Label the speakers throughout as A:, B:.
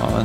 A: Ja,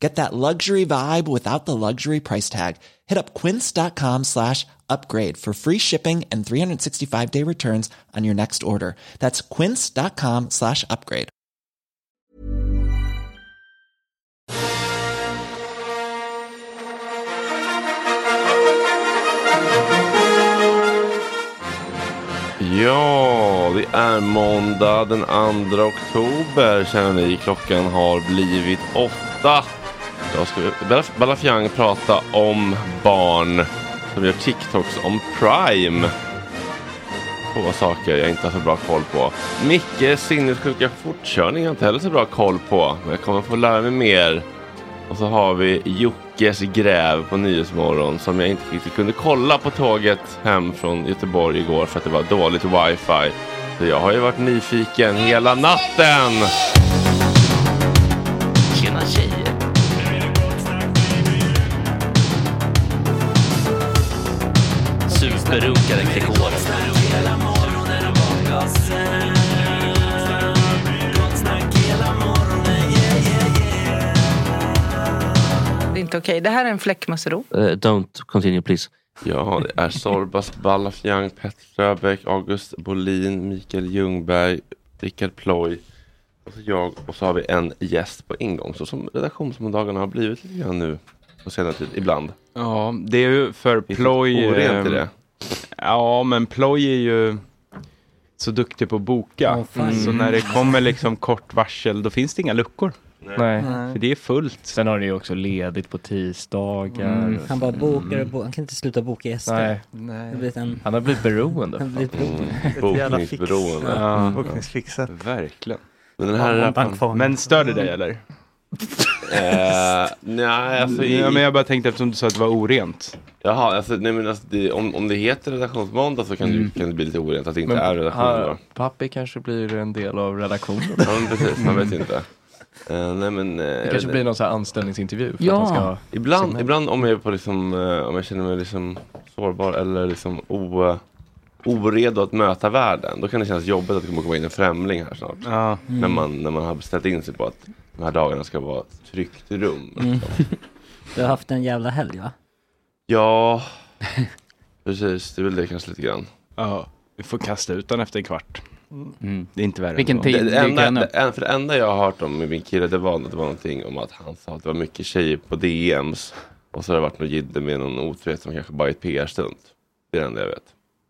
B: Get that luxury vibe without the luxury price tag. Hit up quince.com slash upgrade for free shipping and 365 day returns on your next order. That's quince.com slash upgrade.
C: Ja, det är måndag den 2 oktober känner ni. Klockan har blivit åtta. Då ska vi Bella- Balafiang prata om barn som gör TikToks om Prime. Två saker jag inte har så bra koll på. Mickes sinnessjuka fortkörning har jag inte heller så bra koll på. Men jag kommer få lära mig mer. Och så har vi Jockes gräv på Nyhetsmorgon som jag inte riktigt kunde kolla på tåget hem från Göteborg igår för att det var dåligt wifi. Så jag har ju varit nyfiken hela natten. Tjena tjejer. Superrunkare Gregor.
D: inte okej. Det här är en fläckmussro.
E: Eh, don't continue please.
A: Ja, det är Sorbas, Ballafjang, Petter Röbeck, August Bolin, Mikael Ljungberg, Rickard Ploy och så jag. Och så har vi en gäst på ingång. Så som redaktionsmåndagarna har blivit lite grann nu på senare tid, ibland.
F: Ja, det är ju för
A: Finns
F: ploj.
A: det orent i
F: ehm,
A: det?
F: Ja, men ploj är ju så duktig på att boka.
G: Åh, fan.
F: Så när det kommer liksom kort varsel, då finns det inga luckor.
E: Nej.
F: För det är fullt.
E: Sen har ni ju också ledigt på tisdagar.
F: Mm.
G: Han bara bokar och bokar. Han kan inte sluta boka gäster.
E: Nej,
G: Det har blivit en...
E: han har blivit beroende.
G: Han har blivit bokad.
A: Mm. Ehm, Bokningsberoende.
F: Ja,
H: Bokningsfixet.
F: verkligen.
A: Men den här rappen.
F: Men stör det dig eller?
A: Eh, nej, alltså. I,
F: Ja, men jag bara tänkte eftersom du sa att det var orent.
A: Jaha, alltså, nej, men alltså det, om, om det heter redaktionsmåndag så kan, det ju- kan det bli lite orent att det inte är redaktionsmåndag.
E: pappi kanske blir en del av redaktionen.
A: Ja, men precis. Man vet inte. Eh, nej, men, eh, jag
E: Det
A: vet
E: kanske
A: inte.
E: blir någon så här anställningsintervju. För
D: Ja.
E: att han ska...
A: Ibland,
E: Signal.
A: ibland om jag är på liksom, eh, om jag känner mig liksom sårbar eller liksom o, oredo att möta världen. Då kan det kännas jobbigt att det kommer komma in en främling här snart.
F: Ja.
A: När, man, när man har ställt in sig på att de här dagarna ska vara ett tryggt rum.
G: Du har haft en jävla helg va?
A: Ja, precis. Det är väl det kanske lite grann.
F: Ja, vi får kasta ut den efter en kvart.
E: Mm.
F: Det är inte värre
E: Vilken
F: än så.
E: tid?
A: Det, det, enda,
E: kan-
A: det, en- för det enda jag har hört om med min kille det var, det var någonting om att han sa att det var mycket tjejer på DMs. Och så har det varit något jidder med någon otrohet som kanske bara är ett PR-stunt. Det är det enda jag vet.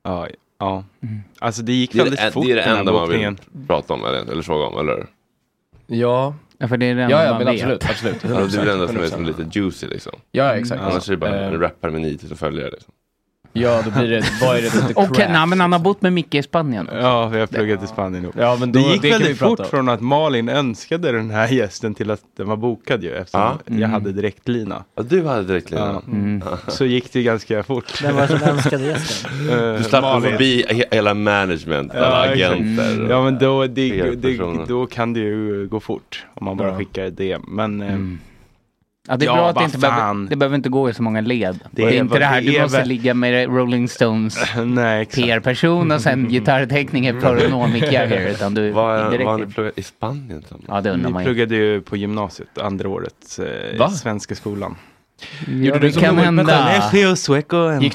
F: Ja, ja.
E: Mm.
F: Alltså det gick
A: Det är
F: väldigt
A: det,
F: fort
A: det, är det
F: den här
A: enda man
F: bokningen.
A: vill prata om eller, eller fråga om, eller
E: Ja,
H: Ja, för det är det
E: ja,
H: enda
E: ja
H: man
E: men
H: vet.
E: absolut. absolut.
A: Ja, det är
E: 100%,
A: det enda som är
E: 100%.
A: som lite juicy liksom.
E: Ja, exakt.
A: Annars är det bara en
E: Eh,
A: rappare med 9000 följare. Liksom.
E: Ja, då blir det, vad är det? The
H: Okej,
E: Craft?
H: nej, men han har bott med Micke i Spanien.
F: Ja, vi har pluggat i Spanien ihop.
E: Ja, men då,
F: det gick
E: kan vi
F: väldigt
E: prata om.
F: fort från att Malin önskade den här gästen till att den var bokad ju eftersom
A: Ja.
F: jag hade
E: Mm.
F: direktlina.
A: Ja, du hade direkt Lina.
F: Mm. Så gick det ganska fort.
G: Vem var det som önskade gästen?
F: Eh,
A: Du slapp gå
F: Malin.
A: förbi he- hela management,
F: Ja,
A: alla
F: exakt.
A: agenter.
F: Ja men då, det,
A: Fel
F: det,
A: personer.
F: då kan det ju gå fort om man bara
E: Ja.
F: skickar ett DM. Men eh,
H: Mm. Ja, det är
F: Ja,
H: bra att det
F: vad
H: inte behöver,
F: fan.
H: det behöver inte gå i så många led. Det
F: är
H: är inte
F: vad
H: det här,
F: det
H: du
F: är
H: måste
F: väl-
H: ligga med Rolling Stones
F: nej exakt.
H: PR-person och sen gitarrteckningen för att nå Mick Jagger. Utan du
A: Vad är- vad har ni
H: indirekt.
A: pluggat i Spanien? tillsammans?
H: Ja, det undrar
F: Vi
H: man ju.
F: pluggade ju på gymnasiet, andra året, eh,
E: Va?
F: i svenska skolan.
H: Ja, det kan hända.
E: Gick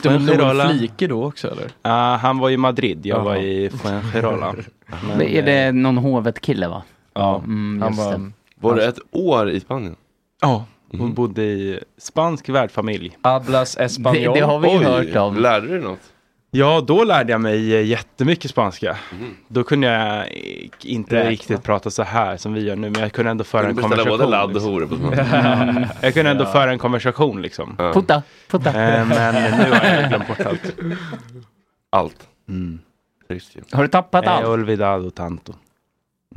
E: du mot någon fliker då också eller?
F: Ah, han var i Madrid, jag
E: Jaha.
F: var i Fuengirola. Men,
H: Är
F: eh,
H: det någon hovet-kille va?
F: Ja,
H: Mm,
E: Han
H: just
E: bara,
H: det.
A: Var det ett år i Spanien?
F: Ja, hon
A: Mm.
F: bodde i spansk värdfamilj.
E: Hablas
H: Det,
E: espanol.
H: det har vi ju hört om.
A: lärde du dig något?
F: Ja, då lärde jag mig eh, jättemycket spanska.
A: Mm.
F: Då kunde jag eh, inte
E: Räkna.
F: riktigt prata så här som vi gör nu, men jag kunde ändå föra
A: Kan du
F: en
A: beställa både
F: konversation.
A: ladd och
F: liksom.
A: horor på småningom?
F: Jag kunde ändå föra en konversation liksom.
A: Ja.
H: Putta, putta.
F: Eh, Men nu har jag glömt bort allt.
A: Allt.
F: Mm.
A: Trist ju.
H: Har du tappat
F: Eh,
H: allt?
F: Olvidado tanto.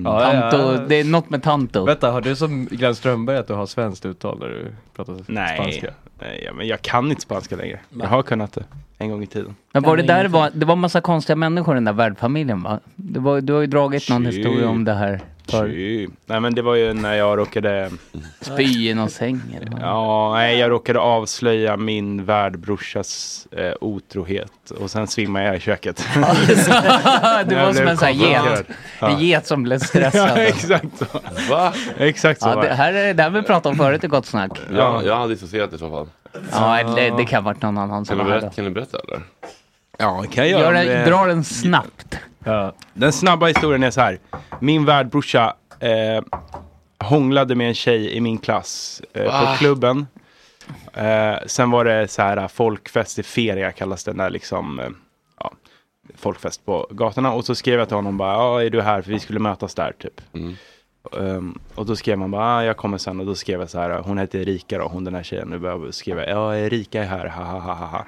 H: Tanto, det är något med tanto.
E: Vänta, har du som Glenn Strömberg att du har svenskt uttal när du pratar
F: Nej.
E: spanska?
F: Nej, ja, men jag kan inte spanska längre. Jag har kunnat det en gång i tiden.
H: Men var det
G: Nej,
H: där
G: ingenting.
H: var, det var massa konstiga människor i den där värdfamiljen va? Det var, du har ju dragit någon
F: Shit.
H: historia om det här. För
F: Tju. Nej, men det var ju när jag råkade...
H: spy i någon säng eller vad?
F: Ja, nej, jag råkade avslöja min värdbrorsas eh, otrohet och sen svimmade jag i köket.
H: Du
F: Jag
H: var som
F: blev
H: en sån här get.
F: konfronterad.
H: En get som blev stressad.
F: Ja, exakt så.
A: Va?
F: Exakt så
H: Ja,
F: var
H: det
F: det.
H: här är det här vi pratade om förut i Gott Snack.
A: Ja, jag hade dissocierat i så fall.
H: Ja, eller det kan ha varit någon annan som
A: Kan du
H: var här då.
A: berätta, kan du berätta eller?
F: Ja, kan jag
H: Gör
F: göra.
H: en, dra den snabbt.
E: Ja.
F: Den snabba historien är så här. Min värdbrorsa eh, hånglade med en tjej i min klass eh, på klubben. Eh, sen var det så här eh, folkfest i feria kallas den där liksom. Eh, ja, folkfest på gatorna. Och så skrev jag till honom bara, ja är du här? För vi skulle mötas där typ. Ehm, och då skrev man bara, ah, jag kommer sen. Och då skrev jag så här, hon heter Erika då, hon den här tjejen. Nu började jag skriva, ja Erika är här, ha ha ha ha, ha.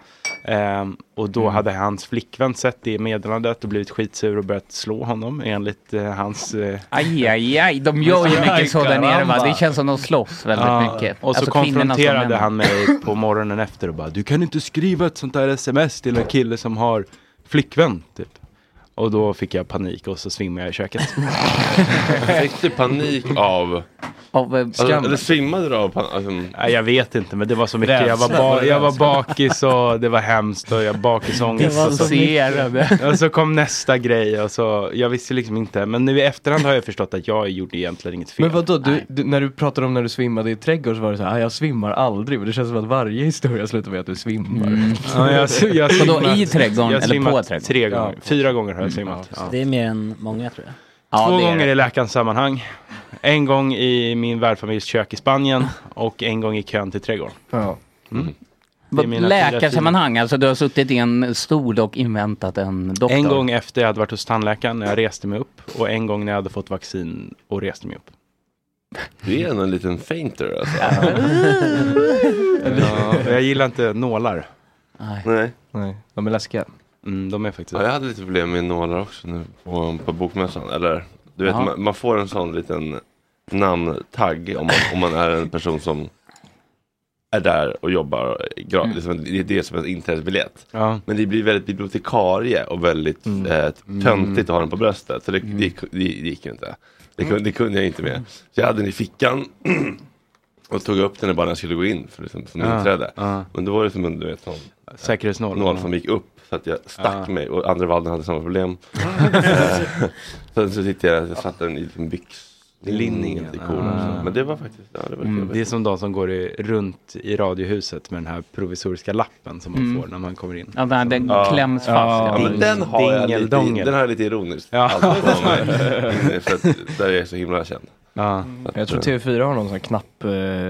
F: Ehm, och då
H: Mm.
F: hade hans flickvän sett det meddelandet och blivit skitsur och börjat slå honom enligt eh, hans... Eh,
H: Aj, aj, aj. De gör ju mycket så där nere va.
E: Caramba.
H: Det känns som de slåss väldigt mycket.
F: och så
H: Alltså, kvinnorna som
F: konfronterade
H: männen.
F: han mig på morgonen efter och bara, du kan inte skriva ett sånt där sms till en kille som har flickvän. Typ. Och då fick jag panik och så svimmade jag i köket.
A: Fick du panik typ av Alltså, eller svimmade du av pan- alltså,
F: Nej, jag vet inte, men det var så mycket. Jag var,
A: Rädsla, var
F: ba-
A: det
F: jag var
A: rädsla?
F: bakis och det var hemskt och jag bakisångest.
H: Det var
F: och
H: så mycket.
F: Och så kom nästa grej och så, jag visste liksom inte. Men nu i efterhand har jag förstått att jag gjorde egentligen inget fel.
E: Men vadå, du, du, när du pratade om när du svimmade i trädgården så var det så här, "Ah, jag svimmar aldrig. Men det känns som att varje historia slutar med att du svimmar.
F: Ja, jag, jag svimmat- jag svimmat
E: Ja.
F: Tre gånger, fyra gånger har jag svimmat. Ja.
G: Det är mer än många tror jag.
F: Två gånger i läkarens sammanhang. En gång i min värdfamiljs kök i Spanien och en gång i kön till trädgården.
E: Ja.
F: Mm. Det är mina fyra
H: Läkarsammanhang, alltså du har suttit i en stol och inväntat en doktor.
F: En gång efter jag hade varit hos tandläkaren när jag reste mig upp och en gång när jag hade fått vaccin och reste mig upp.
A: Du är ändå en liten fainter alltså.
H: Ah.
F: ja, jag gillar inte nålar.
A: Nej.
E: Nej, de är läskiga.
F: Mm, de är faktiskt
A: Ja, jag hade lite problem med nålar också nu på, på bokmässan. Eller, du vet,
F: Jaha.
A: man, man får en sån liten namntagg om man, om man är en person som är där och jobbar gratis.
F: Mm.
A: Liksom, det är det som en inträdesbiljett.
F: Ja.
A: Men det blir väldigt bibliotekarie och väldigt
F: Mm.
A: eh,
F: Mm.
A: töntigt att ha den på bröstet. Så det, det, det, gick ju inte. Det
F: Mm.
A: kunde, det kunde jag inte med. Så jag hade den i fickan och tog upp den bara när jag skulle gå in för, liksom, som
F: Ja,
A: inträde.
F: ja.
A: Men då var det som en du vet, sån,
F: Säkerhetsnål.
A: nål som gick upp så att jag stack
F: Ja.
A: mig och andra valden hade samma problem. Eh, Sen så tyckte jag att jag satte den i liksom byxlinningen till kolan. och så. Men det var faktiskt, ja det var
F: Ah. Mm,
A: trevligt.
F: det är som de som går i, runt i radiohuset med den här provisoriska lappen som man
H: Mm.
F: får när man kommer in.
H: Ja, den, den kläms fast.
A: Ja, men den har jag lite,
F: Dingeldongel.
A: den har jag lite ironiskt.
F: Ja.
A: alltid på mig. Inne, För att där är jag så himla känd.
F: Ja.
E: Jag tror TV4 har någon sån här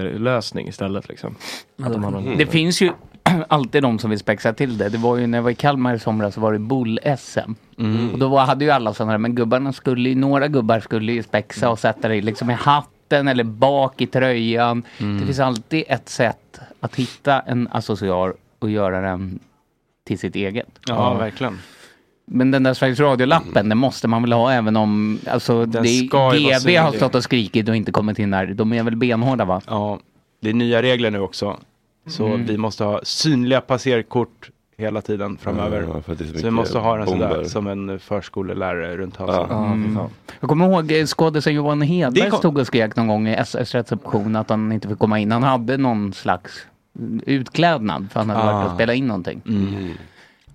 E: knapplösning istället liksom. Att de har någon...
H: Det finns ju alltid de som vill spexa till det. Det var ju när jag var i Kalmar i somras så var det bull-SM.
E: Mm.
H: Och då var, hade ju alla sådana här, men gubbarna skulle ju, några gubbar skulle ju spexa och sätta det i liksom i hatten eller bak i tröjan.
E: Mm.
H: Det finns alltid ett sätt att hitta en accessoar och göra den till sitt eget.
F: Ja, verkligen.
H: Men den där Sveriges Radio-lappen, den måste man väl ha även om, alltså det,
F: Den ska ju vara
H: GB har
F: synlig.
H: stått och skrikit och inte kommit in där. De är väl benhårda va?
F: Ja, det är nya regler nu också. Så
H: Mm.
F: vi måste ha synliga passerkort hela tiden framöver.
A: Ja, för att det är så
F: så vi
A: mycket
F: måste ha den sådär
A: bomber.
F: som en förskolelärare runt halsen.
A: Ja. Ja, fy fan.
H: Mm. Jag kommer ihåg eh, skådisen Johan Hedberg
F: Det kom-
H: stod och skrek någon gång i SS reception att han inte fick komma in. Han hade någon slags utklädnad för han hade
A: Ah.
H: varit och spelat in någonting.
F: Mm.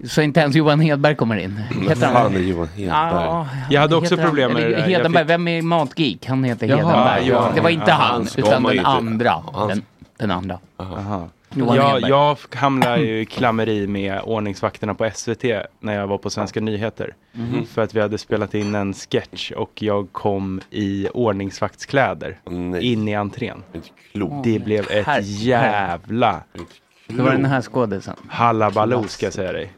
H: Så inte ens Johan Hedberg kommer in. Heter han?
A: Fan, det är Johan Hedberg.
H: Ja,
F: Jag hade
H: heter
F: också
H: han-
F: problem med det
H: eller
F: där. Jag
H: Hedenberg, vem är Matgeek? Han heter
F: Jaha,
H: Hedenberg.
F: ja, Johan
H: det var inte
F: Hedberg.
H: han,
F: Han ska
H: utan den
F: man ju inte-
H: andra.
F: han-
H: Den, den andra.
F: Aha.
H: Johan
F: Jag,
H: Hedberg.
F: jag hamnar ju i klammeri med ordningsvakterna på SVT när jag var på Svenska nyheter.
H: Mhm.
F: För att vi hade spelat in en sketch och jag kom i ordningsvaktskläder in i entrén.
A: klokt.
F: Det blev ett
H: Herre-
F: jävla
H: Det var den här skådisen.
F: hallabaloo ska jag säga dig.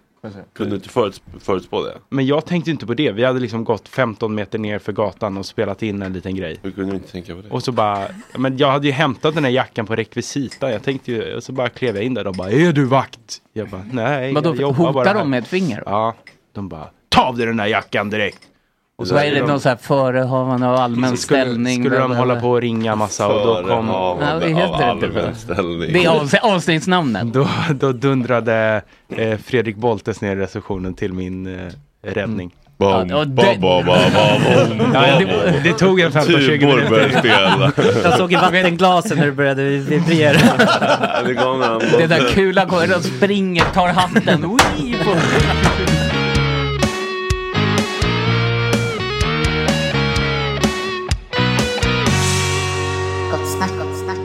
A: Kunde du inte föruts- förutspå det?
F: Men jag tänkte ju inte på det. Vi hade liksom gått 15 meter ner för gatan och spelat in en liten grej.
A: Hur kunde du inte tänka på det?
F: Och så bara, men jag hade ju hämtat den här jackan på rekvisita. Jag tänkte ju, och så bara klev jag in där. De bara, är du vakt? Jag bara, nej.
H: Vadå,
F: jag jobbar
H: hotar
F: bara här."
H: de med ett finger?
F: Ja, de bara, ta av dig den här jackan direkt. Och
H: Vad är det, någon så här förehavande av allmän
F: Så skulle-
H: ställning?
F: Skulle de
H: eller-
F: hålla på och ringa massa och då kom...
H: Ja, det heter inte det.
A: ställning.
H: Det är avs- avsnittsnamnet.
F: Då, då dundrade eh, Fredrik Boltes ner i receptionen till min eh, räddning.
A: Bom,
F: Ja, och
A: ba,
F: det-
A: ba, ba, ba, bom,
F: Ja,
A: bom,
F: det,
A: bom.
F: det tog en 15-20
A: Tubor började
F: minuter.
A: spela.
G: Jag såg i vattenglasen när du började vibrera.
A: Det gav mig en-
H: Det där kula går de springer, tar hatten. Ui, på-
I: Gott snack, gott snack.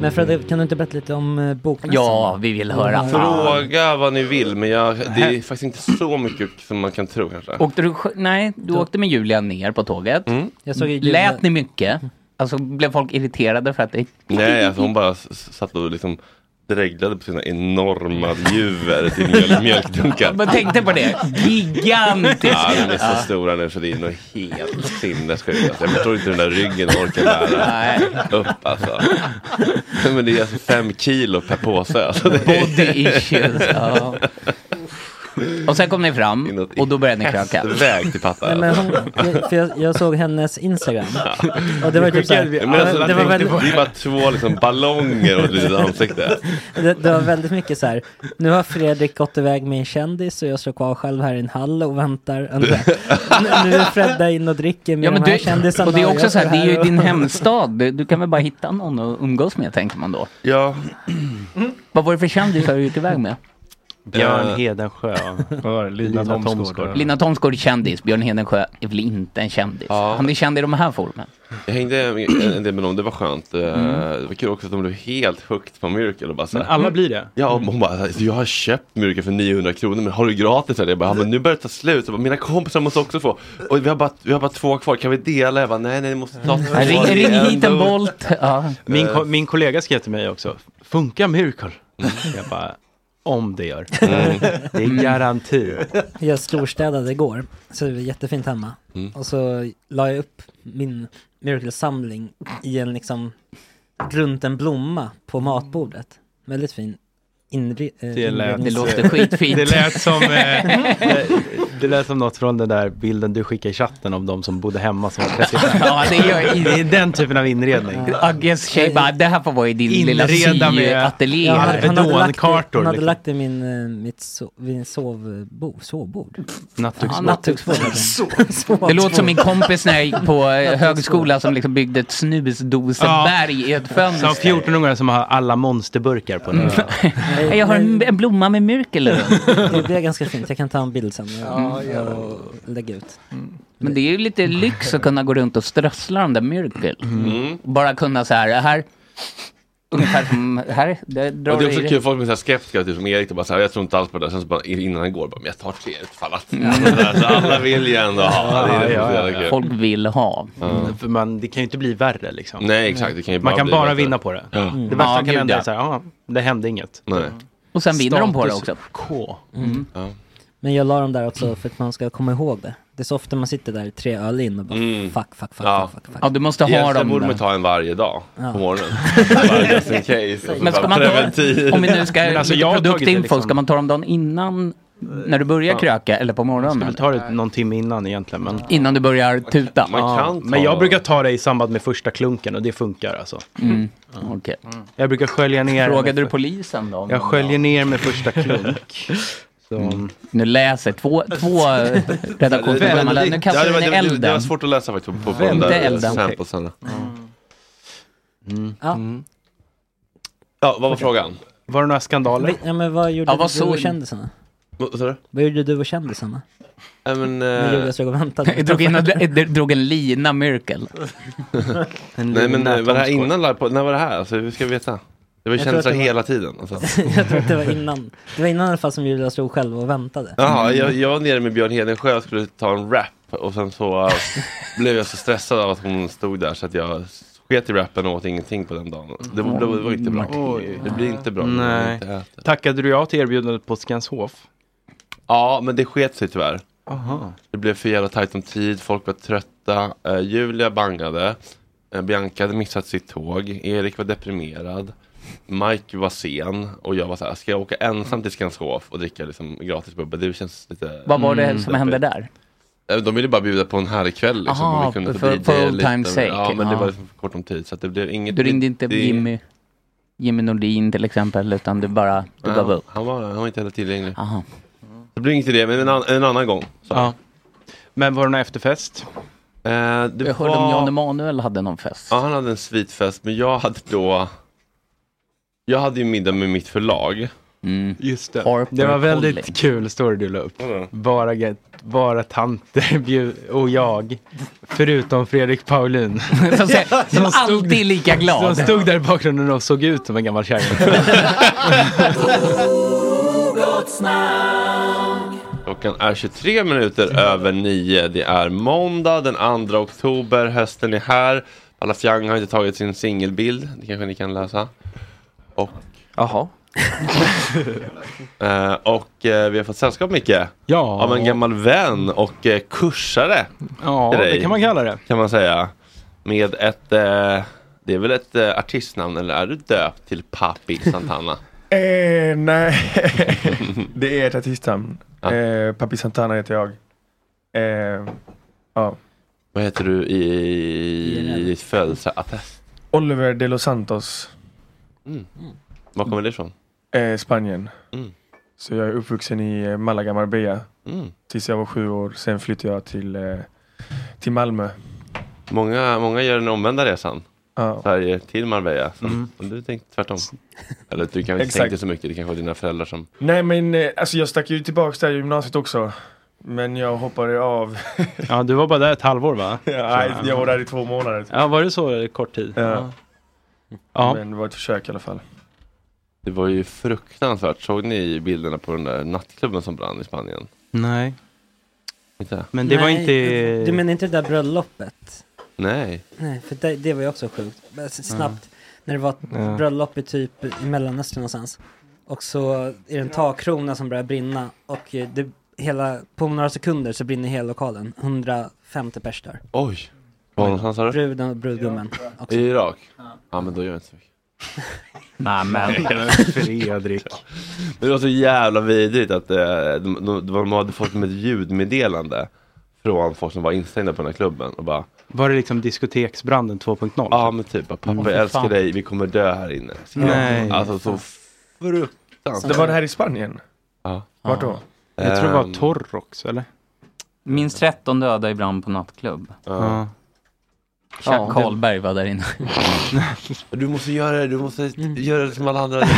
G: Men Fredrik, kan du inte berätta lite om eh, bokmässan?
H: Ja, vi vill höra.
A: Fråga vad ni vill, men jag, det är faktiskt inte så mycket som man kan tro kanske.
H: Åkte du, sj- nej, du åkte med Julia ner på tåget.
F: Mm.
G: Jag såg ju Julia-
H: Lät ni mycket? Alltså blev folk irriterade för att det...
A: Nej, alltså hon bara s- s- satt och liksom dreglade på sina enorma juver till mjöl, mjölkdunkar.
H: Man tänkte på det. Gigantiskt.
A: Ja, de är så stora nu så det är nog helt sinnessjukt. Alltså, jag förstår inte hur den där ryggen orkar bära upp alltså. Men det är alltså fem kilo per påse. Alltså, det är...
H: Body issues. Ja. Och sen kom ni fram och då började ni kröka.
A: Väg till alltså. patta.
G: Nej, men hon, jag- för jag, jag såg hennes Instagram. Och det var ju typ så här,
A: Men alltså,
G: det, var
A: tänk,
G: väldigt,
A: Det är bara två liksom, ballonger och ett litet ansikte.
G: det, det var väldigt mycket så här. Nu har Fredrik gått iväg med en kändis och jag står kvar själv här i en hall och väntar. Och så här, Nu nu är Fredda in och dricker med
H: Ja, men
G: de här
H: du,
G: kändisarna.
H: och det är också
G: jag
H: så här,
G: står
H: det är ju
G: och-
H: din hemstad. Du, du kan väl bara hitta någon att umgås med, tänker man då.
A: Ja.
H: Vad var det för kändisar du gick iväg med?
F: Björn
H: Eh,
F: Hedensjö. Vad var det? Lina, Thomsgård.
H: Lina Thomsgård är kändis, Björn Hedensjö är väl inte en kändis? Han är känd i de här formen.
A: Jag hängde en del med dem, det var skönt. Eh,
H: Mm.
A: Det var kul också att de blev helt hooked på Miracle. Och bara så här-
F: Men alla blir det.
A: Ja, och hon bara, jag har köpt Miracle för 900 kronor, men har du gratis eller? Jag bara, "Ja, men nu börjar det ta slut. Jag bara, Mina kompisar måste också få. Och vi har bara, vi har bara två kvar, kan vi dela? Jag bara, nej, nej, ni måste ta
F: Mm.
A: två.
H: Ring,
A: Det är
H: ring hit en
A: ändå-
H: Bolt. Ja.
F: Min, ko- min kollega skrev till mig också. Funkar Miracle?
H: Mm.
F: Jag bara, om det gör.
G: Mm.
F: Det är garanti.
G: Jag storstädade igår, så det var jättefint hemma.
F: Mm.
G: Och så la jag upp min Miracle-samling i en liksom, runt en blomma på matbordet. Väldigt fin inre- eh,
F: Det lät,
G: inrednings-
F: Det lät, som, eh, eh, det lät som något från den där bilden du skickade i chatten om de som bodde hemma som var 35.
H: Ja, det gör-
F: är den typen av inredning.
H: Agges tjej bara, det här får vara i din lilla
F: Inreda med-
H: syateljé.
F: Ja,
G: han,
H: här."
G: hade- han hade lagt det,
F: Arvedonkartor,
G: han hade
F: liksom.
G: lagt det i min, eh, mitt so, vid en sovbo, sovbord.
F: Nattduksbord.
G: Ja, nattduksbord, heter det.
H: Det låter som min kompis när jag gick på eh, högskola som liksom byggde ett snusdoseberg i ett
F: Som
H: fönster.
F: 14-åringar som har alla monsterburkar på den.
H: Nej, Jag har en, en blomma med myrkel runt.
G: Det blev ganska fint, jag kan ta en bild sen och, och lägga ut.
H: Men det är ju lite lyx att kunna gå runt och strössla de där myrkel.
A: Mm.
H: Bara kunna så här, här, ungefär som, här, där
A: Ja,
H: drar
A: det är
H: du i
A: också
H: det.
A: kul, folk blir så här skeptiska, typ som Erik, och bara så här, jag tror inte alls på det. Sen så bara, innan han går, bara, men jag tar tre utfall. att-" Alltså, där, så alla vill ju ändå ha. Det är det som är så jävla kul.
H: Folk vill ha.
F: Mm. För man, det kan ju inte bli värre liksom.
A: Nej, exakt, det kan ju
F: man
A: bara
F: kan
A: bli
F: bara
A: bättre.
F: vinna på det.
A: Ja.
F: Det
A: Mm.
F: värsta
A: Ja,
F: som kan
A: gud,
F: hända
A: ja.
F: är så här, ja, det hände inget.
A: Nej.
H: Och sen vinner de på det också.
F: Status K.
G: Mm. Men jag la dem där också för att man ska komma ihåg det. Det är så ofta man sitter där tre öl in och bara fuck, fuck, fuck,
A: Ja.
G: fuck, fuck, fuck.
H: Ja, du måste ha
A: Egentligen
H: dem
A: borde
H: där.
A: man ta en varje dag
G: Ja.
A: på morgonen. Bara just in case. Och så
H: Men ska
A: bara
H: man ta,
A: preventiv.
H: om vi nu ska,
F: Men alltså, jag har tagit det
H: produktinfo,
F: liksom-
H: ska man ta dem dagen innan, när du börjar
F: Ja.
H: kröka eller på
F: Jag
H: morgonen?
F: vill ta det någon timme innan egentligen. Men...
H: Innan du börjar tuta?
F: Ja, Men jag brukar ta det i samband med första klunken och det funkar alltså.
H: Mm.
F: Jag brukar skölja ner.
H: Frågade du polisen då? om
F: Jag
H: de-
F: sköljer ner med första klunk. Så...
H: Nu läser två, två eh, redaktionsmedlemmar, nu kastar
A: det,
H: du den i
A: var- det, var- det, var- det var
H: elden.
A: svårt att läsa faktiskt på, på, på de
H: Vände
A: där
H: elden. Mm.
A: samplesarna.
G: Ja.
A: Mm. Ja, vad var frågan?
F: Var det några skandaler?
G: Ja men vad gjorde
A: Ja, vad
G: du
A: såg
G: och
A: ni?
G: kändisarna?
A: Vad sa du?
G: Vad gjorde du och kändisarna?
A: Ja, men,
G: Ni låg
A: eh,
G: och stod och väntade.
H: Jag drog, in, jag drog en lina Miracle.
A: nej men eh, var det här innan live på, när var det här? Alltså, hur ska vi veta? Det var
G: Jag tror
A: kändisar
G: att det var-
A: hela tiden. Alltså.
G: jag tror att det var innan. Det var innan i alla fall som Julia stod själv och väntade. Mm.
A: Jaha, jag, jag var nere med Björn Hedensjö och skulle ta en rap och sen så eh, blev jag så stressad av att hon stod där så att jag sket i rappen och åt ingenting på den dagen. Det, var- det, var- det var inte bra. Det blir inte bra. om man
F: Nej.
A: inte äter.
F: Tackade du ja till erbjudandet på Skanshof?
A: Ja, men det sket sig tyvärr.
F: Aha.
A: Det blev för jävla tajt om tid, folk var trötta. Eh, Julia bangade. Eh, Bianca hade missat sitt tåg. Erik var deprimerad. Mike var sen och jag var så här, ska jag åka ensam till Skanshov och dricka liksom gratis bubbel? Det känns lite... Mm.
H: Vad var det som hände där?
A: Eh, De ville bara bjuda på en härlig kväll liksom.
H: Aha,
A: och vi kunde få
H: för-
A: DJ
H: for old
A: lite,
H: time's sake.
A: Ja, men det
H: Ja.
A: var liksom för kort om tid så att det blev inget...
H: Du ringde inte
A: det,
H: Jimmy, Jimmy Nordin till exempel, utan du bara du
A: Nej,
H: gav upp?
A: Han var, han var inte heller tillgänglig. Det blir inget idé, men en, an, en annan gång. Så.
F: Ja. Men var det någon efterfest?
A: Eh, det
H: jag hörde om
A: var-
H: Jan Emanuel hade någon fest.
A: Ja, han hade en svitfest, men jag hade då... Jag hade ju middag med mitt förlag.
F: Just det.
H: Harper
F: Det var väldigt
H: Collins.
F: kul story du la upp. Bara, get- bara tanter bjud- och jag, förutom Fredrik Paulin.
H: Som, säger- som alltid är lika glad.
F: Som stod där i bakgrunden och såg ut som en gammal kärring.
A: Klockan är 23 minuter över 9. Det är måndag den 2 oktober. Hösten är här. Alla Fjang har inte tagit sin singelbild. Det kanske ni kan läsa. Och... Jaha. och eh, vi har fått sällskap, Micke. Ja. Av en gammal vän och eh, kursare.
F: Ja,
A: till dig,
F: det kan man kalla det.
A: Kan man säga. Med ett... Eh, det är väl ett eh, artistnamn, eller är du döpt till Papi Santana?
J: Eh, nej, det är ett artistnamn. Eh, Papi Santana heter jag. Eh, ja.
A: Vad heter du i, i födelseattest?
J: Oliver de los Santos.
A: Mm. Var kommer det ifrån?
J: Eh, Spanien.
A: Mm.
J: Så jag är uppvuxen i eh, Malaga, Marbella.
A: Mm.
J: Tills jag var sju år. Sen flyttade jag till, eh, till Malmö.
A: Många, många gör den omvända resan.
J: Ja.
A: Sverige till Marbella. Så,
J: Mm.
A: och Du tänkte tvärtom. Eller du kanske inte
J: Exakt.
A: tänkte så mycket, det kanske var dina föräldrar som...
J: Nej men eh, alltså jag stack ju tillbaks där i gymnasiet också. Men jag hoppade av.
F: Ja, du var bara där ett halvår va?
J: Ja, nej, jag var där i två månader. typ.
F: Ja, var det så kort tid?
J: Ja.
F: Ja.
J: Men det var ett försök i alla fall.
A: Det var ju fruktansvärt. Såg ni bilderna på den där nattklubben som brann i Spanien?
F: Nej.
A: Inte?
F: Men det var
G: Nej,
F: inte...
G: Du menar inte det där bröllopet?
A: Nej.
G: Nej, för det, det var ju också sjukt. Men så Snabbt, när det var ett
A: Ja.
G: bröllop i typ i Mellanöstern någonstans. Och så är det en takkrona som börjar brinna och eh, det, hela, på några sekunder så brinner hela lokalen. 150 pers där.
A: Oj! Var någonstans sa du?
G: Bruden och brudgummen.
A: I Irak? Ja, men då gör jag inte så mycket.
F: Nej men Fredrik.
A: Men det var så jävla vidrigt att eh, de, de, de hade fått med ett ljudmeddelande från folk som var instängda på den här klubben och bara
F: Var det liksom diskoteksbranden 2.0?
A: Ja men typ, bara, pappa
F: Mm.
A: jag älskar
F: Fan. Mm.
A: dig, vi kommer dö här inne.
F: Nej.
A: Alltså så fruktansvärt.
J: Det var det här i Spanien?
A: Ja.
J: Vart då?
F: Jag tror det
A: Ehm.
F: var Torrox eller?
H: Minst 13 döda i brand på nattklubb.
F: Ja.
H: Chuck
A: Ja.
H: Karlberg var där inne.
A: Du måste göra det, du måste
G: Mm.
A: göra det som alla andra. Det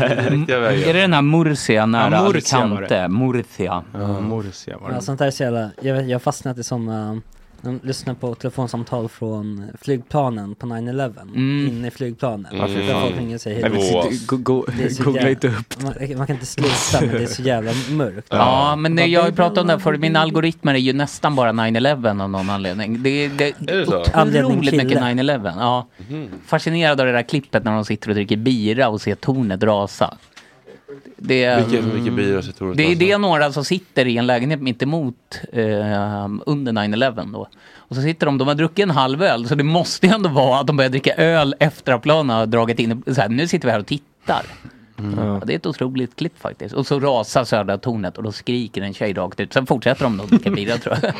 A: är riktiga vägen.
F: Mm.
H: Är det den här Murcia nära
F: Ja, Murcia var det.
H: Alicante? Murcia.
F: Ja, Morsia var
G: Ja,
F: det.
G: sånt där är så jävla, jag, vet, jag har fastnat i såna, de lyssnar på telefonsamtal från flygplanen på 9-11,
H: Mm.
G: inne i flygplanen.
A: Ja, fy
G: Där
A: fan.
G: folk ringer och säger
A: Nej, men
G: hej.
A: sitt-
E: Go- go-
G: Det är så
E: Googla
G: jävla-
E: inte upp.
G: Man, man kan inte sluta, men det är så jävla mörkt.
H: Ja, men det,
G: Vad
H: jag har ju
G: blir
H: pratat om det här
G: det?
H: förut. Min algoritm är ju nästan bara 9-11 av någon anledning. Det, det,
A: Är det så?
G: Anledning
H: otroligt
G: kille.
H: mycket 9-11. Ja.
F: Mhm.
H: Fascinerad av det där klippet när de sitter och dricker bira och ser tornet rasa. Det,
A: Vilket, vilket byrå så tror du
H: det är
A: inte
H: det
A: alltså?
H: några som sitter i en lägenhet mitt emot eh, under 9-11 då. Och så sitter de, de har druckit en halv öl, så det måste ju ändå vara att de börjar dricka öl efter att planen har dragit in. Så här, nu sitter vi här och tittar. Ja, det är ett otroligt klipp faktiskt. Och så rasar södra tornet och då skriker en tjej rakt ut. Sen fortsätter de nog dricka bira tror jag.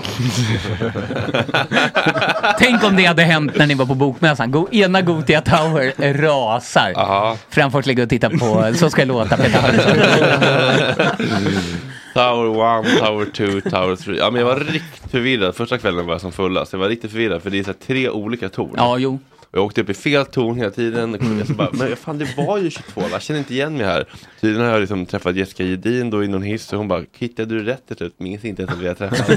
H: Tänk om det hade hänt när ni var på bokmässan. Go, ena Gothia Tower rasar.
A: Ja.
H: Framför oss ligger och tittar på Så ska jag låta Peter Andersson.
A: Tower 1, Tower 2, Tower 3. Ja men jag var riktigt förvirrad. Första kvällen var jag som fullast. Jag var riktigt förvirrad för det är så här tre olika torn.
H: Ja, jo.
A: Och jag åkte upp i fel torn hela tiden. Och jag så bara, men fan det var ju 22, va? jag känner inte igen mig här. Tydligen har jag liksom träffat Jessica Jedin då i någon hiss och hon bara, hittade du rätt till slut? Minns inte ens att vi har träffats.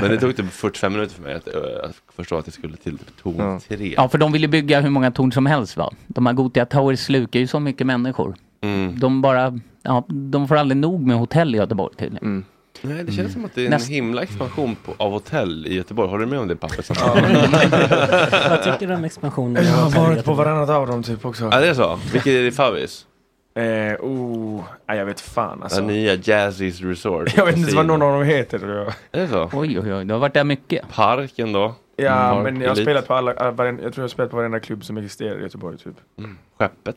A: men det tog typ 45 minuter för mig att, eh, att förstå att jag skulle till torn 3.
H: Ja, för de vill ju bygga hur många torn som helst va? De här Gothia Towers slukar ju så mycket människor.
A: Mm.
H: De bara, ja, de får aldrig nog med hotell i Göteborg tydligen.
A: Mm. Nej, det känns som att det är en
H: Näst-
A: himla expansion på, av hotell i Göteborg. Håller du med om det Pappis?
G: Vad tycker du om expansionen?
J: Jag har
G: Hotell
J: varit på
G: Göteborg?
J: varannat av dem typ också.
A: Ja, det är så. Vilket är det Favis?
J: Eh, oh, nej, jag vet fan alltså.
A: Den nya Jazzy's Resort.
J: Jag vet inte ens vad någon av dem heter.
A: Är det så?
H: Oj, oj, oj, du har varit där mycket.
A: Parken då?
J: Ja,
A: Park
J: men jag har
A: Elite.
J: spelat på alla, alla varen, jag tror jag har spelat på varenda klubb som existerar i Göteborg typ.
A: Mm. Skeppet?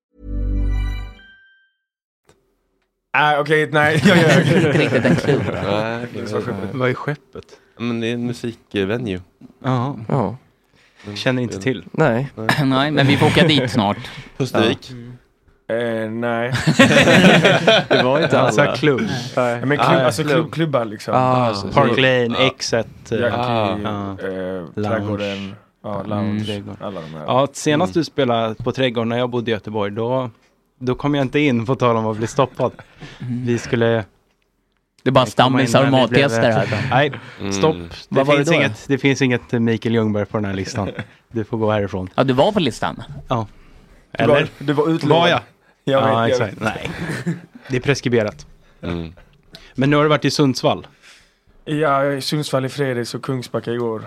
J: Nej, okej, nej. Jag gör
H: Inte riktigt en klur.
A: Nej, okej.
J: Det var skeppet.
F: Vad är skeppet?
A: Men det är en musikvenue.
F: Ja.
A: Ja.
F: Känner inte till.
H: Nej. Nej, men vi får åka dit snart.
A: Pustervik.
J: Eh, nej.
F: Det var inte
J: Alltså,
F: alla.
J: klubb.
F: Nej.
J: Ja, men klubb,
F: Ah,
J: alltså
F: klubb.
J: klubb, klubbar liksom.
F: Ah, alltså,
J: så-
F: Park Lane,
J: Ja.
F: Exet, eh,
J: Jackie,
F: ah.
J: eh,
F: Lounge.
J: Trädgården, ja, Lounge,
F: Trädgården.
J: alla de här. Mm.
F: Ja, senast du spelade på Trädgården när jag bodde i Göteborg, då, då kom jag inte in på tal om att bli stoppad. Vi skulle...
H: Det är bara
F: Vi kom in,
H: stammisar och
F: men vi blev-
H: matgäster här.
F: Nej, stopp.
H: Mm.
F: Det,
H: Vad var det
F: finns
H: då?
F: inget, det finns inget Mikael Ljungberg på den här listan. Du får gå härifrån.
H: Ja, du var på listan.
F: Ja.
J: Du var- du var utlovad.
F: Var jag?
J: Jag vet,
F: ja,
J: jag
F: exakt.
J: vet.
F: Nej, det är preskriberat. Mm. Men nu har du varit i Sundsvall.
J: Ja, i Sundsvall i fredags och Kungsbacka igår.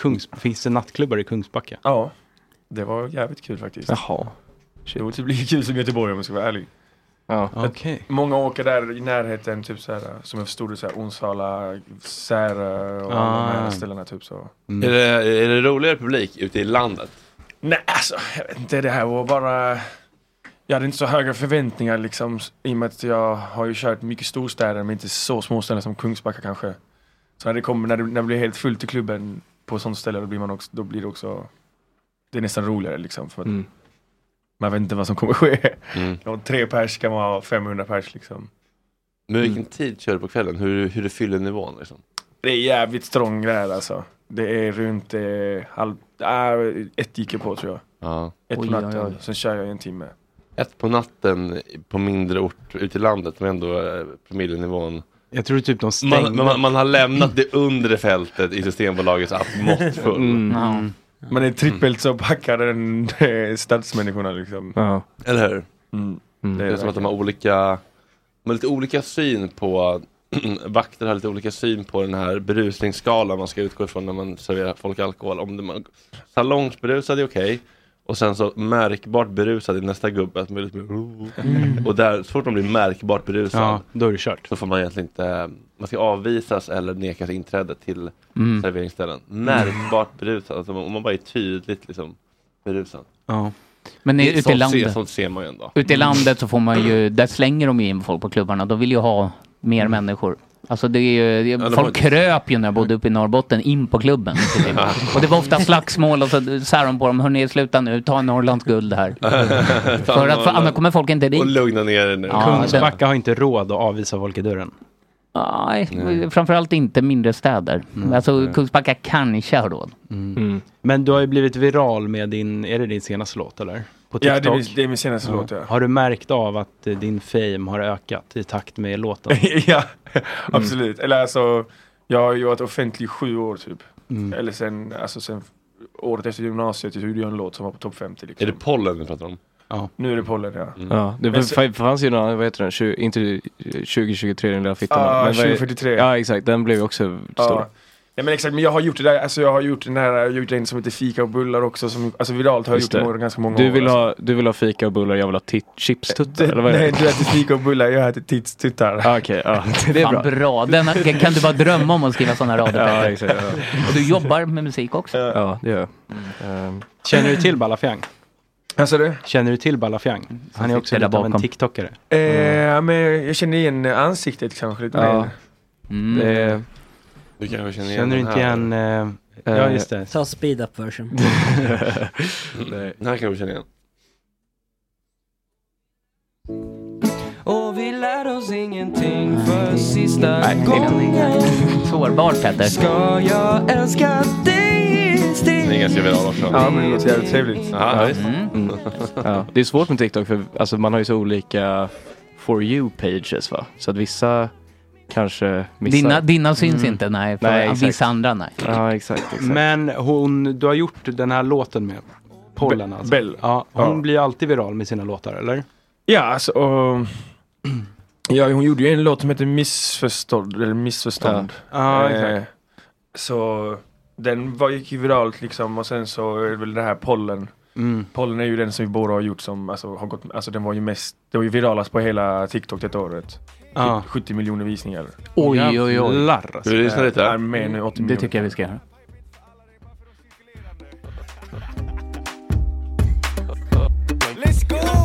F: Kungs... Finns det nattklubbar i Kungsbacka?
J: Ja, det var jävligt kul faktiskt.
F: Jaha.
J: Det var typ lika kul som Göteborg om jag ska vara ärlig.
F: Ja.
J: Att
F: Okej.
J: Många åker där i närheten, typ så här, som jag förstod det, så här, Onsala, Särö och alla de
A: Ah.
J: här ställena typ så.
A: Är, det, är det roligare publik ute i landet?
J: Nej, alltså jag vet inte. Det här var bara... Jag hade inte så höga förväntningar liksom i och med att jag har ju kört mycket storstäder men inte så små ställen som Kungsbacka kanske. Så när det kommer, när det, när det blir helt fullt i klubben på sånt ställe då blir man också, då blir det också Det är nästan roligare liksom för att
F: Mm.
J: man vet inte vad som kommer ske.
A: Mm.
J: Om tre pers kan man ha 500 pers liksom.
A: Men vilken
F: Mm.
A: tid kör du på kvällen? Hur, hur du fyller nivån liksom?
J: Det är jävligt strång där alltså. Det är runt eh, halv, äh, ett gick jag på tror jag.
A: Ja.
J: Ett på
A: Oj,
J: natten,
A: oj, oj.
J: sen kör jag i en timme.
A: Ett på natten på mindre ort ute i landet men ändå eh, promillenivån.
F: Jag tror typ de stängde.
A: Man, man, man har lämnat det undre fältet i Systembolagets app måttfull.
F: Mm.
E: Mm,
J: Man är trippelt så packad än eh, stadsmänniskorna liksom.
A: Eller hur?
J: Det
A: Mm.
F: Mm.
A: Det
J: är
A: är som att de har olika, de har lite olika syn på, vakter har lite olika syn på den här berusningsskalan man ska utgå ifrån när man serverar folk alkohol. Om det, man, salongsberusad är okej, och sen så märkbart berusad i nästa gubbe. Att man är lite mer- Och där, så fort man blir märkbart berusad,
F: Mm. Ja, då är det kört.
A: så får man egentligen inte, man ska avvisas eller nekas inträde till
F: Mm.
A: serveringsställen. Märkbart berusad, alltså om man bara är tydligt liksom berusad.
F: Ja.
H: Men i-
A: Det-
H: ute i
A: sånt ser-
H: landet.
A: Sånt ser man ju ändå.
H: Ute
J: Mm.
H: i landet så får man ju, där slänger de ju in folk på klubbarna. De vill ju ha mer
F: Mm.
H: människor. Alltså det är ju, det,
A: de
H: folk
A: har-
H: kröp ju när jag bodde uppe i Norrbotten in på klubben. och det var ofta slagsmål och så sär de på dem, hörni sluta nu, ta Norrlands guld här. för att, för annars kommer folk inte dit.
A: Och lugna ner er nu.
H: Ja,
F: Kungsbacka har inte råd att avvisa folk i dörren.
H: Nej, framförallt inte mindre städer.
E: Mm.
H: Alltså
F: nej.
H: Kungsbacka kanske har råd.
F: Men du har ju blivit viral med din, är det din senaste låt eller? På
J: Ja, det är min- det är min senaste låt, ja.
F: Har du märkt av att eh, din fame har ökat i takt med låten?
J: ja, absolut. Eller alltså, jag har ju varit offentlig i sju år typ.
F: Mm.
J: Eller sen, alltså sen året efter gymnasiet så gjorde jag en låt som var på topp 50 liksom.
A: Är det pollen vi pratar om?
F: Ja.
J: Nu är det pollen ja.
E: Ja, det
J: Men
E: f-
J: så-
E: f- fanns ju någon, vad heter den, 20, inte eh, 2023 den lilla fittan.
J: Ah,
E: men vad är-
J: 2043.
E: Ja exakt, den blev ju också stor.
J: Ja. Nej men exakt, men jag har gjort det där, alltså jag har gjort den här, jag har gjort en som heter Fika och bullar också, som, alltså viralt har jag
E: Just
J: gjort
E: det.
J: det. ganska många
E: du
J: år.
E: vill,
J: alltså.
E: ha, du vill ha fika och bullar, jag vill ha tit- chipstuttar
J: Det-
E: eller vad är
J: Nej,
E: det?
J: du äter fika och bullar, jag äter tits, tuttar.
E: Ah, Okej, ja. det är
H: Fan,
E: bra.
H: bra. Den, kan du bara drömma om att skriva sådana rader?
E: Ja,
H: Petter?
E: exakt, ja.
H: Och du jobbar med musik också?
E: Ja, det gör jag. Ehm,
F: Känner du till Balafjang?
J: Vad sa du?
F: Känner du till Balafjang? Han är också
H: sitter där
F: lite av en
H: bakom.
F: TikTokare.
J: Eh, men jag känner igen ansiktet kanske lite
E: Ja.
J: mer.
E: det är,
A: Du kanske känner igen
F: Känner du
A: den
F: inte
A: här?
F: igen... Eh, ja, just det.
G: Ta speed up version.
E: nej.
A: Den här kan du känna igen.
K: Och vi lär oss ingenting för sista gången
H: Sårbar Petter.
K: Ska jag älska dig i
A: Den är ganska viral också.
J: Ja, men det låter jävligt trevligt.
A: Ja, visst.
E: Ja, det är svårt med TikTok för alltså, man har ju så olika for you-pages va? Så att vissa kanske missar.
H: Dina, dina syns inte, nej. För
E: Mm. Nej, exakt.
H: vissa andra, nej.
E: Ja, exakt. exakt.
F: Men hon, du har gjort den här låten med. Pollen alltså.
J: Bell.
F: Ja, hon
J: Ja.
F: blir ju alltid viral med sina låtar, eller?
J: Ja, alltså. Och, ja, hon gjorde ju en låt som heter Missförstånd. Eller Missförstånd.
F: Ja, exakt.
J: så den var, gick ju viralt liksom och sen så är det väl det här pollen.
F: Mm.
J: Pollen är ju den som vi båda har gjort som alltså, har gått, alltså den var ju mest, det var ju viralast på hela TikTok detta året.
F: Ja.
J: 70 miljoner visningar.
H: Oj, oj, oj.
F: Jävlar alltså.
A: Ska vi lyssna
J: Det är
A: lite?
E: Mm.
J: mer nu, 80
H: Det
J: miljoner.
H: tycker jag vi ska göra.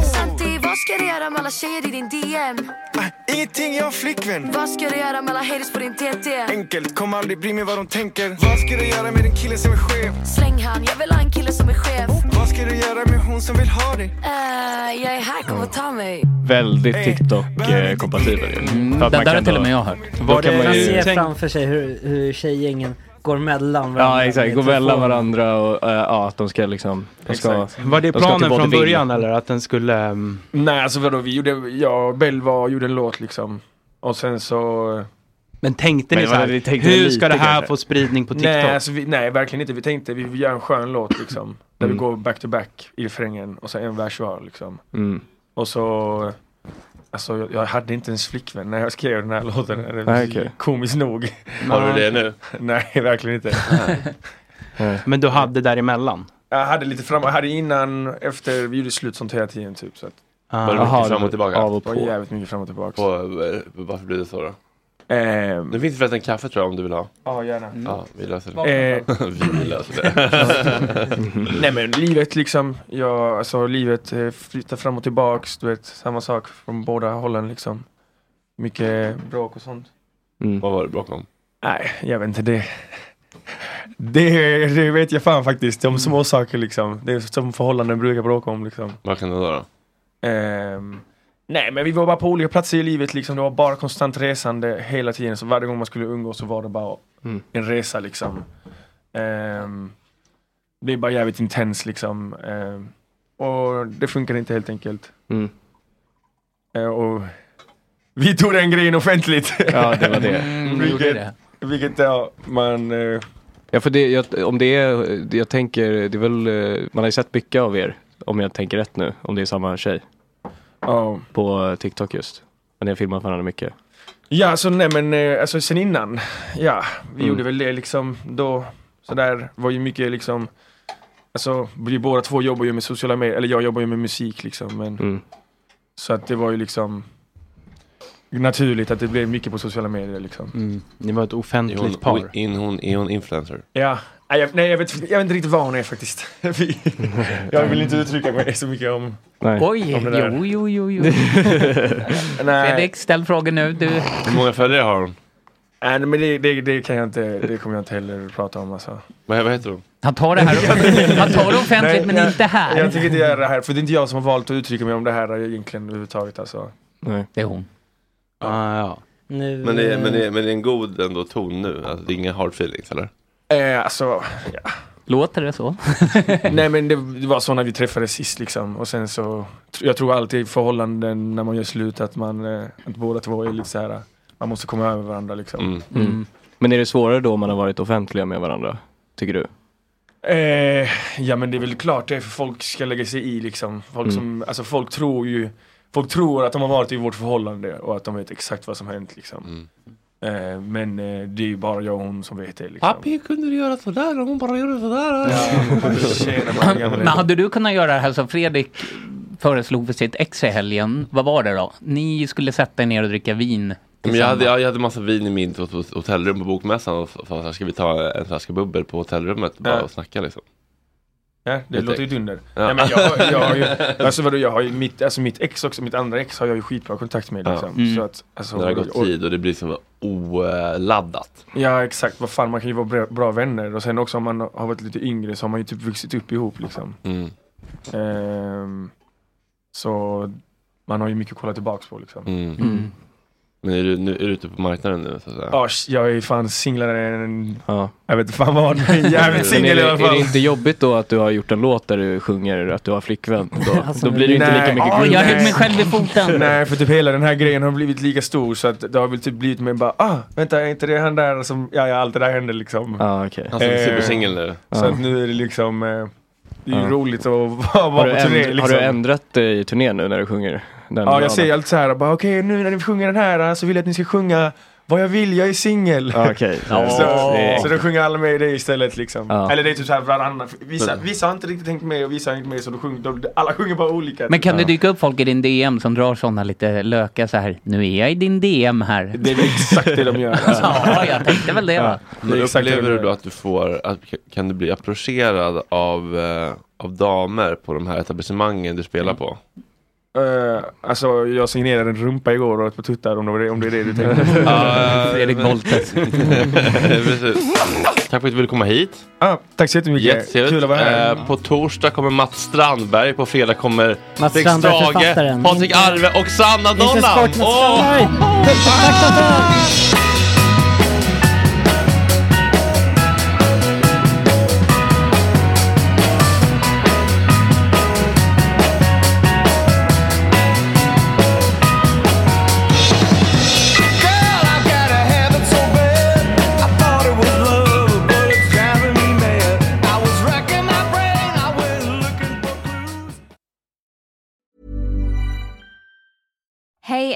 K: Santi, vad ska
L: ska du göra med alla tjejer i din DM?
J: Ah,
M: Ingenting, jag har flickvän.
L: Vad ska du göra med alla haters på din TT?
M: Enkelt, kommer aldrig bry mig vad de tänker. Vad ska du göra med din kille som är chef?
L: Släng han, jag vill ha en kille som är chef.
M: Vad ska du göra med hon som vill ha dig?
L: Eh, jag är här, kom och ta mig.
E: Väldigt TikTok-kompatibel mm,
H: Den där har till och med jag hört.
E: Då kan man
G: Man ser
E: ju...
G: framför sig hur, hur tjejgängen går mellan
E: Ja exakt,
G: med
E: gå mellan
G: telefonen.
E: varandra och eh, ja, att de ska liksom... De ska,
G: Exakt. Var det
E: de ska
F: planen
E: till
F: från
E: vaudeville.
F: början, eller att den skulle... ehm,
J: Nej, alltså vadå, vi gjorde, jag och Bell var, gjorde en låt liksom. Och sen så... eh,
F: Men tänkte ni så här, hur ska det här få spridning på TikTok?
J: Nej, alltså vi, nej, verkligen inte. Vi tänkte vi gör en skön låt liksom. Där
F: Mm.
J: vi går back to back i refrängen och sen en vers var liksom.
F: Mm.
J: Och så, alltså jag, jag hade inte ens flickvän när jag skrev den här låten. Det
F: Nej, okej.
J: Komiskt nog.
F: Har du det nu?
J: nej, verkligen inte.
F: Men du hade däremellan?
J: jag hade lite fram, jag hade innan, efter, vi gjorde slut som teatin typ. Så att,
F: Ah. Var det mycket Aha, fram och tillbaka? av och
J: Det var
F: på.
J: jävligt mycket fram och tillbaka. Eh,
A: På, eh, varför blir det så då?
F: Mm.
A: det finns förresten kaffe tror jag om du vill ha.
J: Ja, gärna. Mm.
A: Ja, vi löser det.
J: Eh.
F: Mm.
A: vi löser det.
J: Nej men livet liksom, jag, alltså livet eh, flyttar fram och tillbaks, du vet samma sak från båda hållen liksom. Mycket bråk och sånt.
A: Vad var det bråk om?
J: Nej, jag vet inte det. Det, det vet jag fan faktiskt, de små saker liksom. Det är som förhållanden brukar bråka om liksom.
A: Vad kan det vara då?
J: Ehm, nej men vi var bara på olika platser i livet liksom, det var bara konstant resande hela tiden. Så varje gång man skulle umgås så var det bara
F: Mm.
J: en resa liksom. Ehm, det blev bara jävligt intens liksom. Ehm, och det funkade inte helt enkelt.
F: Mm.
J: Eh, och vi tog den grejen offentligt.
F: Ja, det var det. Mm, ni gjorde
J: vilket,
F: det.
J: vilket ja, man... eh,
E: Ja, för det, jag, om det är, jag tänker, det är väl, eh, man har ju sett mycket av er, om jag tänker rätt nu, om det är samma tjej. På eh, TikTok just. Men jag filmar fan mycket.
J: Ja, så nej men eh, alltså sen innan, ja, vi
E: Mm.
J: gjorde väl det liksom då, sådär, var ju mycket liksom, alltså vi båda två jobbar ju med sociala medier, eller jag jobbar ju med musik liksom, men
E: Mm.
J: så att det var ju liksom naturligt att det blev mycket på sociala medier liksom.
E: Mm.
F: Ni var ett
A: Är
F: offentligt
A: hon,
F: par.
A: In, hon, är hon influencer?
J: Ja, nej, jag, nej jag, vet, jag vet inte riktigt vad hon är faktiskt. Vi- jag vill inte uttrycka mig så mycket om,
F: Nej.
H: Oj,
J: om det där.
H: jo, jo, jo, jo.
J: Nej.
H: Fredrik, ställ frågor nu. Du.
A: Hur många följare har hon?
J: Äh, Nej men det, det, det kan jag inte, det kommer jag inte heller prata om alltså.
A: Vad, vad heter hon?
H: Han tar det här han tar det offentligt
J: Nej,
H: men
J: jag-
H: inte här.
J: Jag tänker inte göra det här, för det är inte jag som har valt att uttrycka mig om det här egentligen överhuvudtaget alltså.
E: Nej.
H: Det är hon.
A: Ah, ja.
G: Nu,
A: Men, det, är- men, det, är-
G: eh,
A: men det är en god ändå ton nu? Alltså, det är inga hard feelings eller?
J: Eh, alltså, ja.
H: Låter det så?
J: Nej men det, det var så när vi träffades sist liksom och sen så tr- Jag tror alltid i förhållanden när man gör slut att man, eh, att båda två är lite så här. Man måste komma över varandra liksom
E: Mm. Men är det svårare då om man har varit offentliga med varandra? Tycker du?
J: eh, Ja men det är väl klart det är för folk ska lägga sig i liksom Folk
E: Mm.
J: som, alltså folk tror ju Folk tror att de har varit i vårt förhållande och att de vet exakt vad som hänt
A: Mm.
J: liksom eh, Men eh, det är ju bara jag och hon som vet det liksom
A: Pappi, kunde du göra sådär om hon bara gjorde sådär?
J: Tjena, man, gammal.
H: Men hade du kunnat göra det här som Fredrik föreslog för sitt ex i helgen? Vad var det då? Ni skulle sätta er ner och dricka vin
A: Men jag, hade,
H: tillsammans.
A: jag hade massa vin i mitt hot- hotellrum på bokmässan och sa så här, ska vi ta en flaska bubbel på hotellrummet bara
J: Ja.
A: och snacka liksom?
J: Ja, det
A: Mitt
J: låter ju
A: ex.
J: dunder.
A: Ja.
J: Nej, men jag, har- jag har ju, alltså vadå, jag har ju mitt, alltså mitt ex också, mitt andra ex har jag ju skitbra kontakt med
A: Ja.
J: liksom. Så att, alltså,
A: När det har gått
J: och-
A: tid och det blir som oladdat.
J: Ja exakt, vad fan man kan ju vara bra, bra vänner och sen också om man har varit lite yngre så har man ju typ vuxit upp ihop liksom.
A: Mm.
J: Ehm, så man har ju mycket att kolla tillbaks på liksom.
A: Mm. Men är du, nu, är du ute på marknaden nu så att säga?
J: Ja, sh- jag är fan singlare än...
E: Ja.
J: Jag vet inte fan vad, men jävligt
E: Men är
J: singel i
E: det-
J: alla fall.
E: Är det inte jobbigt då att du har gjort en låt där du sjunger att du har flickvän? Då,
J: Alltså,
E: då blir det ju inte
J: nej.
E: lika mycket
J: Oj,
E: groove.
J: jag högg mig
H: själv i foten.
J: Nej, för typ hela den här grejen har blivit lika stor så att det har väl typ blivit med bara ah, vänta är inte det han där som, ja ja allt det där händer liksom.
E: Ah, okay.
A: Han som är supersingel nu.
J: Så
E: Ah.
J: att nu är det liksom, eh, det är ju
E: Ah.
J: roligt att vara
E: Har du,
J: på turné
E: änd-
J: liksom.
E: har du ändrat dig i turnén nu när du sjunger? Den
J: Ja,
E: raden?
J: jag säger alltid så här, bara okej nu när ni sjunger den här så vill jag att ni ska sjunga vad jag vill, jag är singel.
E: Ah, okej.
J: så,
E: Det är-
J: så då sjunger alla med det istället liksom.
E: Ja.
J: Eller det är typ såhär varannan, vissa,
A: Mm.
J: vissa har inte riktigt tänkt med och vissa har inte med så då sjunger, då, alla sjunger bara olika.
H: Men kan det dyka upp folk i din DM som drar sådana lite löka så här, nu är jag i din DM här.
J: Det är väl exakt det de gör. alltså.
H: ja, jag tänkte väl det va.
A: Men upplever du då att du får, att, kan du bli approcherad av, eh, av damer på de här etablissemangen du spelar på?
J: Eh, alltså jag signerade en rumpa igår och ett par tuttar om det, var det- om det är det du tänker på.
A: Ja,
J: Eh,
A: Precis. Tack för att du ville komma hit.
J: Ah, tack så jättemycket.
A: Jättetrevligt.
J: Kul att vara här.
A: Eh, på torsdag kommer Mats Strandberg. På fredag kommer
J: Mats
A: Felix
J: Strandberg,
A: Strage,
J: författaren.
A: Patrik Arve och Sanna
J: Inte
A: Donnan.
J: sport, Mats
A: Åh!
N: Hey,